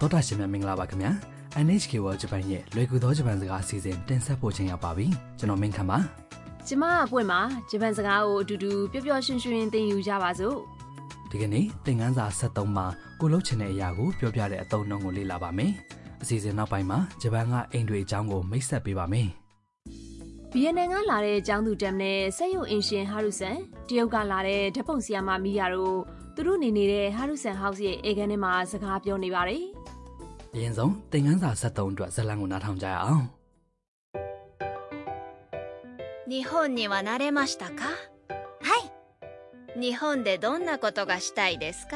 တောတာရှင်များမင်္ဂလာပါခင်ဗျာ NHK World Japan ရဲ့လွယ်ကူသောဂျပန်စကားအစီအစဉ်တင်ဆက်ဖို့ချိန်ရောက်ပါပြီကျွန်တော်မင်းခမ်းပါ ကျမအပွင့်မှာဂျပန်စကားကိုအတူတူပျော်ပျော်ရွှင်ရွှင်သင်ယူကြပါစို့ ဒီကနေ့သင်ခန်းစာ73မှာကိုလှုပ်ချင်တဲ့အရာကိုပြောပြတဲ့အသုံးအနှုန်းကိုလေ့လာပါမယ်အစီအစဉ်နောက်ပိုင်းမှာဂျပန်ကအိမ်တွေအကြောင်းကိုမိတ်ဆက်ပေးပါမယ် ဗီယက်နမ်ကလာတဲ့ကျောင်းသူတမ်နဲ့ဆက်ယုံအင်ရှင်ဟာရုဆန်တရုတ်ကလာတဲ့ဓတ်ပုံဆရာမမီယာတို့သူတို့နေနေတဲ့ဟာရုဆန်ဟောက်စ်ရဲ့ဧကန်ထဲမှာစကားပြောနေပါတယ် အရင်ဆုံးသင်ခန်းစာ73အတွက်ဇာတ်လမ်းကိုနားထောင်ကြရအောင် 日本には慣れましたかはい日本でどんなことがしたいですか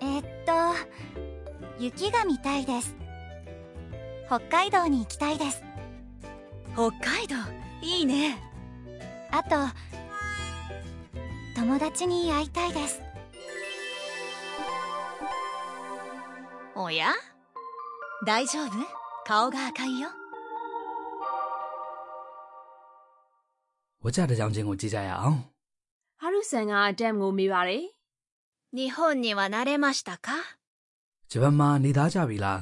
えっと雪が見たいです北海道に行きたいです北海道いいねあと友達に会いたいですおや大丈夫顔が赤いよ ဝါကြတစ်ကြောင်ချင်းကိုကြည့်ကြရအောင် ဟာရုဆန်ကတမ်ကိုမေးပါတယ် 日本には慣れましたか ဂျပန်မှာနေသားကြပြီလား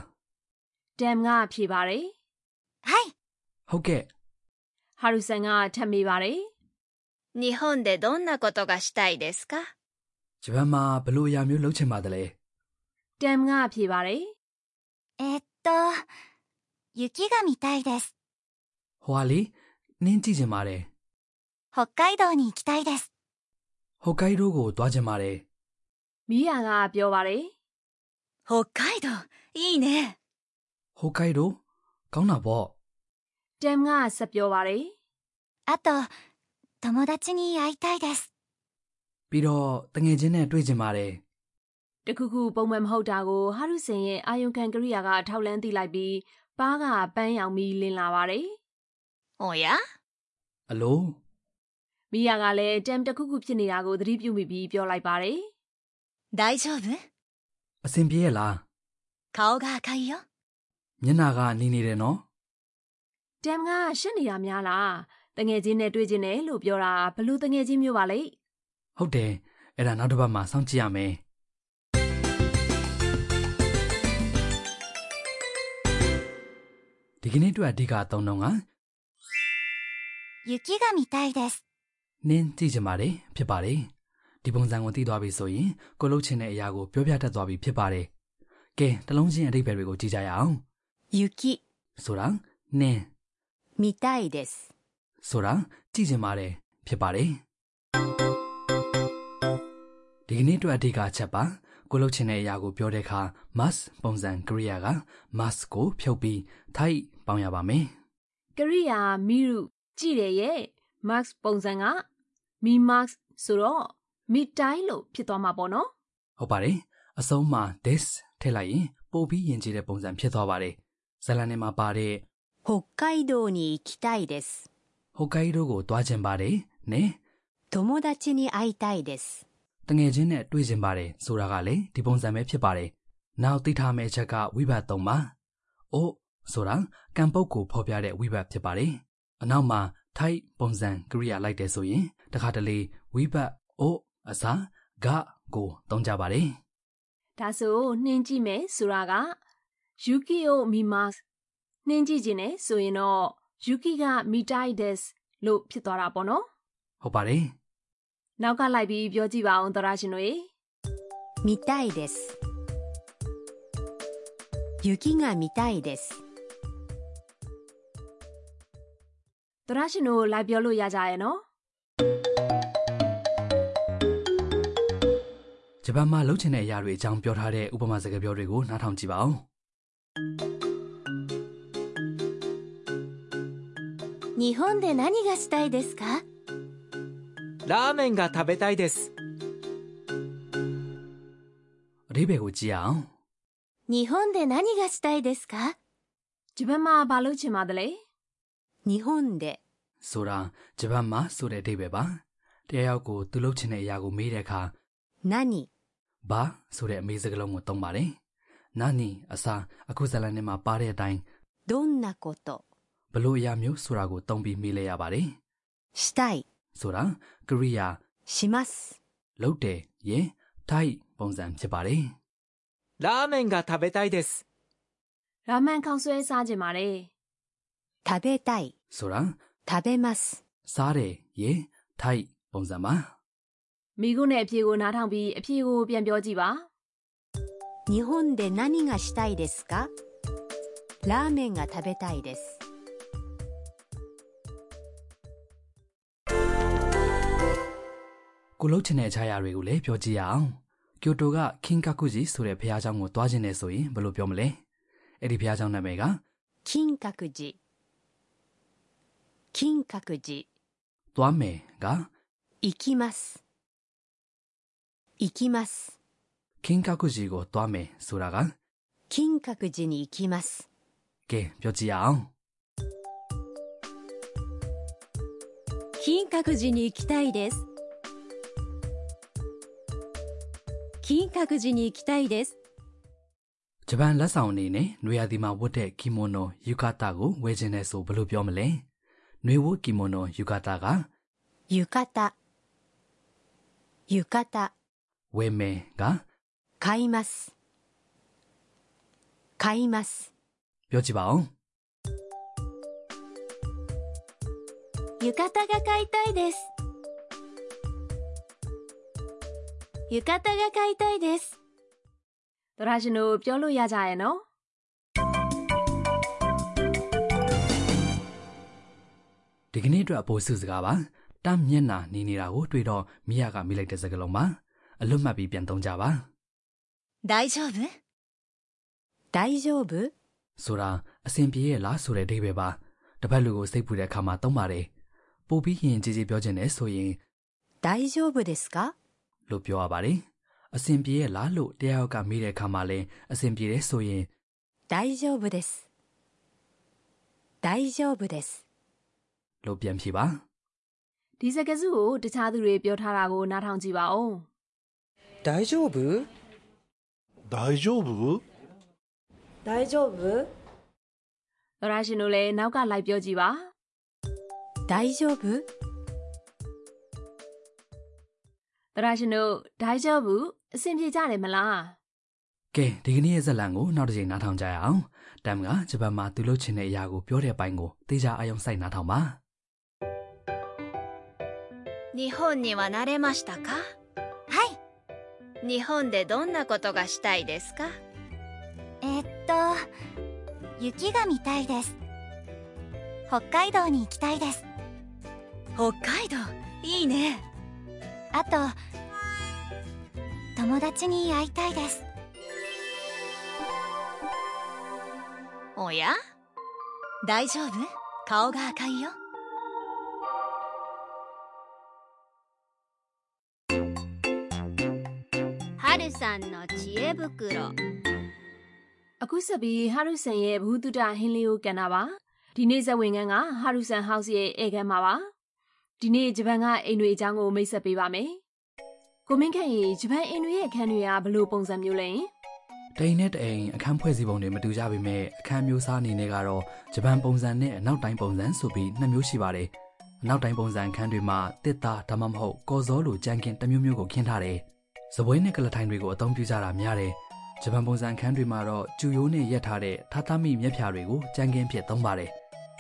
တမ်ကဖြေပါတယ် はい ဟုတ်ကဲ့ ဟာရုဆန်ကထပ်မေးပါတယ် 日本でどんなことがしたいですか ဂျပန်မှာဘယ်လိုအရာမျိုးလှုပ်ချင်ပါသလဲ တမ်ကဖြေပါတယ် えっと雪が見たいです ဟိုဟာလေနင်းကြည့်ချင်ပါတယ် 北海道に行きたいです ဟိုကိုက်ဒိုကိုသွားချင်ပါတယ် မီယာကပြောပါတယ် 北海道いいね ဟိုကိုက်ဒိုကောင်းတာပေါ့ တမ်ကဆက်ပြောပါတယ် あと友達に会いたいです ပြီးတော့တငယ်ချင်းနဲ့တွေ့ကြပါတယ် တခုခုပုံမှန်မဟုတ်တာကိုဟာရုဆန်ရဲ့အာယုံခံကရိယာကထောက်လန်းသိလိုက်ပြီးပါးကပန်းရောင်ပြီးလင်းလာပါတယ် おや အလို မိယာကလည်းတမ်တစ်ခုခုဖြစ်နေတာကိုသတိပြုမိပြီးပြောလိုက်ပါတယ် 大丈夫 အဆင်ပြေရဲ့လား 顔が赤いよ မျက်နှာကနေနေတယ်နော် ။တမ်ကရှက်နေတာများလား။တငယ်ချင်းနဲ့တွေ့ချင်းတယ်လို့ပြောတာဘလို့တငယ်ချင်းမျိုးပါလေ ဟုတ်တယ်အဲ့ဒါနောက်တစ်ပတ်မှစောင့်ကြည့်ရမယ်ဒီကနေ့အတွက်အဓိကအသုံးတော့က 雪が見たいです နင်းကြည့်ချင်ပါတယ်ဖြစ်ပါတယ်ဒီပုံစံကိုသိသွားပြီဆိုရင်ကိုလှုပ်ချင်တဲ့အရာကိုပြောပြတတ်သွားပြီဖြစ်ပါတယ်ကဲတစ်လုံးချင်းအဓိပ္ပာယ်တွေကိုကြည့်ကြရအောင် 雪 ဆိုတာနင်း 見たいです ဆိုတာကြည့်ချင်ပါတယ်ဖြစ်ပါတယ်ဒီကနေ့အတွက်အဓိကအချက်ပါကိုလှုပ်ချင်တဲ့အရာကိုပြောတဲ့အခါ must ပုံစံကရိယာက must ကိုဖြုတ်ပြီး type ပေါင်းရပါမယ် ။ကရိယာမိရုကြည့်တယ်ရဲ့။ Max ပုံစံကမိ Max ဆိုတော့မိတိုင်းလို့ဖြစ်သွားမှာပေါ့နော် ဟုတ်ပါတယ်အဆုံးမှာ this ထည့်လိုက်ရင်ပို့ပြီးယဉ်ကျေးတဲ့ပုံစံဖြစ်သွားပါတယ်ဇာတ်လမ်းထဲမှာပါတဲ့ 北海道に行きたいです ဟိုကိုက်ဒိုကိုတွားချင်ပါတယ်နဲ 友達に会いたいです တငယ်ချင်းနဲ့တွေ့ချင်ပါတယ်ဆိုတာကလည်းဒီပုံစံပဲဖြစ်ပါတယ်နောက်သိထားမယ့်အချက်ကဝိဘတ်သုံးပါအို့ဆိုတာကံပုတ်ကိုဖော်ပြတဲ့ဝိဘတ်ဖြစ်ပါတယ်အနောက်မှာ type ပုံစံကရိယာလိုက်တယ်ဆိုရင်တခါတလေဝိဘတ်အို့အစားဂကိုသုံးကြပါတယ် ။ဒါဆိုနှင်းကြည့်မယ်ဆိုတာက Yuki ကိုမိ Max နှင်းကြည့်ခြင်းနဲ့ဆိုရင်တော့ Yuki ကမိတိုင်းですလို့ဖြစ်သွားတာပေါ့နော် ဟုတ်ပါတယ် ။နောက်ကလိုက်ပြီးပြောကြည့်ပါအောင်သရာရှင်တို့။ 見たいです雪が見たいです ။သရရှင်တို့လိုက်ပြောလို့ရကြရဲ့နော် ဂျပန်မှာလှုပ်ချင်တဲ့အရာတွေအကြောင်းပြောထားတဲ့ဥပမာစကားပြောတွေကိုနားထောင်ကြည့်ပါဦး 日本で何がしたいですかラーメンが食べたいです အသေးပဲကိုကြည့်ရအောင် 日本で何がしたいですか ။ဂျပန်မှာဘာလို့ချင်ပါသလဲ 日本で ဆိုတာဂျပန်မှာဆိုတဲ့အသေးပဲပါတရားရောက်ကိုသူလှုပ်ချင်တဲ့အရာကိုမေးတဲ့အခါ 何 ဘာဆိုတဲ့အမေစကားလုံးကိုသုံးပါတယ်။နာနီအစားအခုဇာတ်လမ်းထဲမှာပါတဲ့အတိုင်း どんなこと ဘလို့အရာမျိုးဆိုတာကိုသုံးပြီးမေးလဲရပါတယ် したい ။ဆိုတာကရိယာ します လုပ်တယ်ရင် type ပုံစံဖြစ်ပါတယ် ラーメンが食べたいです。 ရာမန်ခေါင်ဆွဲစားကြင်ပါတယ် 食べたい、 ဆိုတာ 食べます。 စားတယ်ရေထိုက်ပုံစံပါ မိကုန်းနဲ့အဖြေကိုနားထောင်ပြီးအဖြေကိုပြန်ပြောကြည့်ပါ 日本で何がしたいですかラーメンが食べたいです。 ကိုလှုပ်ချင်တဲ့အခြားအရာတွေကိုလည်းပြောကြည့်ရအောင်ကျိုတိုကခင်ကာကူဂျီဆိုတဲ့ဘုရားကျောင်းကိုသွားခြင်းနဲ့ဆိုရင်ဘယ်လိုပြောမလဲအဲ့ဒီဘုရားကျောင်းနာမည်က 金閣寺。金閣寺。 သွားမယ်က 行きます。行きます。 ခင်ကာကူဂျီကိုသွားမယ်ဆိုတာက 金閣寺に行きます。 ကဲပြောကြည့်ရအောင် 金閣寺に行きたいです。金閣寺に行きたいです。 ဂျပန်လက်ဆောင်အနေနဲ့နွေရာသီမှာဝတ်တဲ့ကီမိုနိုယူကာတာကိုဝယ်ခြင်းနဲ့ဆိုဘယ်လိုပြောမလဲနွေဝတ်ကီမိုနိုယူကာတာက 浴衣。浴衣。 ဝယ်မယ်က 買います。買います。 ပြောကြည့်ပါအောင် 浴衣が買いたいです浴衣が買いたいです သရရှင်တို့ပြောလို့ရကြရဲ့နော် ဒီကနေ့အတွက်အပေါ်စုစကားပါတမ်းမျက်နာနေနေတာကိုတွေ့တော့မိယာကမိလိုက်တဲ့စကားလုံးပါအလွတ်မှတ်ပြီးပြန်သုံးကြပါ 大丈夫大丈夫 ဆိုတာအစဉ်ပြေရဲ့လားဆိုတဲ့အဓိပ္ပာယ်ပါတစ်ဖက်လူကိုစိတ်ပူတဲ့အခါမှာသုံးပါတယ်ပို့ပြီးရင်ကြည်ကြည်ပြောခြင်းနဲ့ဆိုရင် 大丈夫ですか လို့ပြောရပါတယ်အစဉ်ပြေရဲ့လားလို့တရားရောက်ကမေးတဲ့အခါမှာလည်းအစဉ်ပြေတယ်ဆိုရင် 大丈夫です。大丈夫です。 လို့ပြန်ဖြေပါ ဒီစကားစုကိုတခြားသူတွေပြောထားတာကိုနားထောင်ကြည့်ပါဦး 大丈夫大丈夫大丈夫 သရရှင်တို့လည်းနောက်ကလိုက်ပြောကြည့်ပါ 大丈夫 သရရှင်တို့ဒိုင်ဂျောဘူးအဆင်ပြေကြတယ်မလား ကဲဒီကနေ့ရဲ့ဇာတ်လံကိုနောက်တစ်ချိန်နားထောင်ကြရအောင်တမ်ကဂျပန်မှာသူလုပ်ချင်တဲ့အရာကိုပြောတဲ့ပိုင်းကိုသေချာအယုံစိုက်နားထောင်ပါ 日本には慣れましたかはい日本でどんなことがしたいですかえっと雪が見たいです北海道に行きたいです北海道いいねあと友達に会いたいですおや大丈夫顔が赤いよはるさんの知恵袋 အခုဆက်ပြီးဟာရုဆန်ရဲ့ဘုသူတဟင်းလေးကိုကန်တာပါဒီနေ့ဇတ်ဝင်ခန်းကဟာရုဆန်ဟောက်စ်ရဲ့ဧကန်မှာပါဒီနေ့ဂျပန်ကအိမ်တွေအကြောင်းကိုမိတ်ဆက်ပေးပါမယ်ကိုမင်းခန့်ရေဂျပန်အိမ်တွေရဲ့အခန်းတွေကဘယ်လိုပုံစံမျိုးလဲ တိန်နဲ့တိန်အခန်းဖွဲ့စည်းပုံတွေမတူကြပေမဲ့အခန်းမျိုးစားအနေနဲ့ကတော့ဂျပန်ပုံစံနဲ့အနောက်တိုင်းပုံစံဆိုပြီးနှစ်မျိုးရှိပါတယ်အနောက်တိုင်းပုံစံအခန်းတွေမှာတစ်သားဒါမှမဟုတ်ကော်စောလိုကြံကင်တစ်မျိုးမျိုးကိုခင်းထားတယ်ဇပွဲနဲ့ကလထိုင်တွေကိုအသုံးပြုကြတာများတယ်ဂျပန်ပုံစံအခန်းတွေမှာတော့ကျူရိုးနဲ့ရက်ထားတဲ့ထာတာမီမျက်ဖြာတွေကိုကြံကင်ဖြစ်သုံးပါတယ်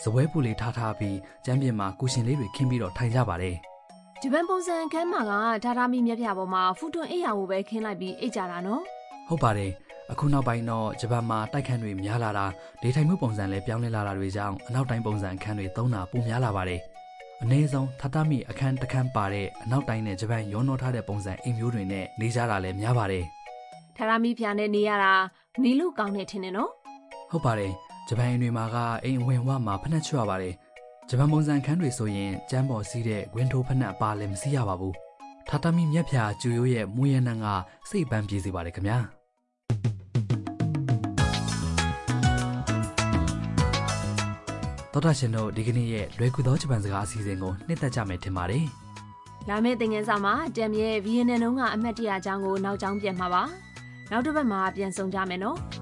ဇပွဲပူလေးထားထားပြီးကျမ်းပြင်မှာကုရှင်လေးတွေခင်းပြီးတော့ထိုင်ကြပါတယ် ဂျပန်ပုံစံအခန်းမှာကဒါဒါမီမျက်ပြာပေါ်မှာဖူတွန်အိပ်ရာကိုပဲခင်းလိုက်ပြီးအိပ်ကြတာနော် ဟုတ်ပါတယ်အခုနောက်ပိုင်းတော့ဂျပန်မှာတိုက်ခန်းတွေများလာတာဒေထိုင်မှုပုံစံလည်းပြောင်းလဲလာတာတွေကြောင့်အနောက်တိုင်းပုံစံအခန်းတွေသုံးတာပိုများလာပါတယ်အနည်းဆုံးထာတာမီအခန်းတစ်ခန်းပါတဲ့အနောက်တိုင်းနဲ့ဂျပန်ရောနှောထားတဲ့ပုံစံအိမ်မျိုးတွေနဲ့နေကြတာလည်းများပါတယ် ဒါဒါမီဖျားနဲ့နေရတာနေလို့ကောင်းနေထင်တယ်နော် ဟုတ်ပါတယ်ဂျပန်အိမ်တွေမှာကအိမ်အဝင်ဝမှာဖနှက်ချွရပါတယ်ဂျပန်ပုံစံအခန်းတွေဆိုရင်ကျမ်းပေါ်စီးတဲ့ဂွင်းထိုးဖနှက်အပါလည်းမစီးရပါဘူးထာတာမီမျက်ဖြာကျူရိုးရဲ့မူရနံကစိတ်ပန်းပြေစေပါတယ်ခင်ဗျာ သောတာရှင်တို့ဒီကနေ့ရဲ့လွယ်ကူသောဂျပန်စကားအစီအစဉ်ကိုနှစ်သက်ကြမယ်ထင်ပါတယ် လာမယ့်သင်ခန်းစာမှာတမ်ရဲ့ဗီယက်နမ်တုန်းကအမှတ်တရအကြောင်းကိုနောက်ကြောင်းပြန်မှာပါနောက်တစ်ပတ်မှာပြန်ဆောင်ကြမယ်နော်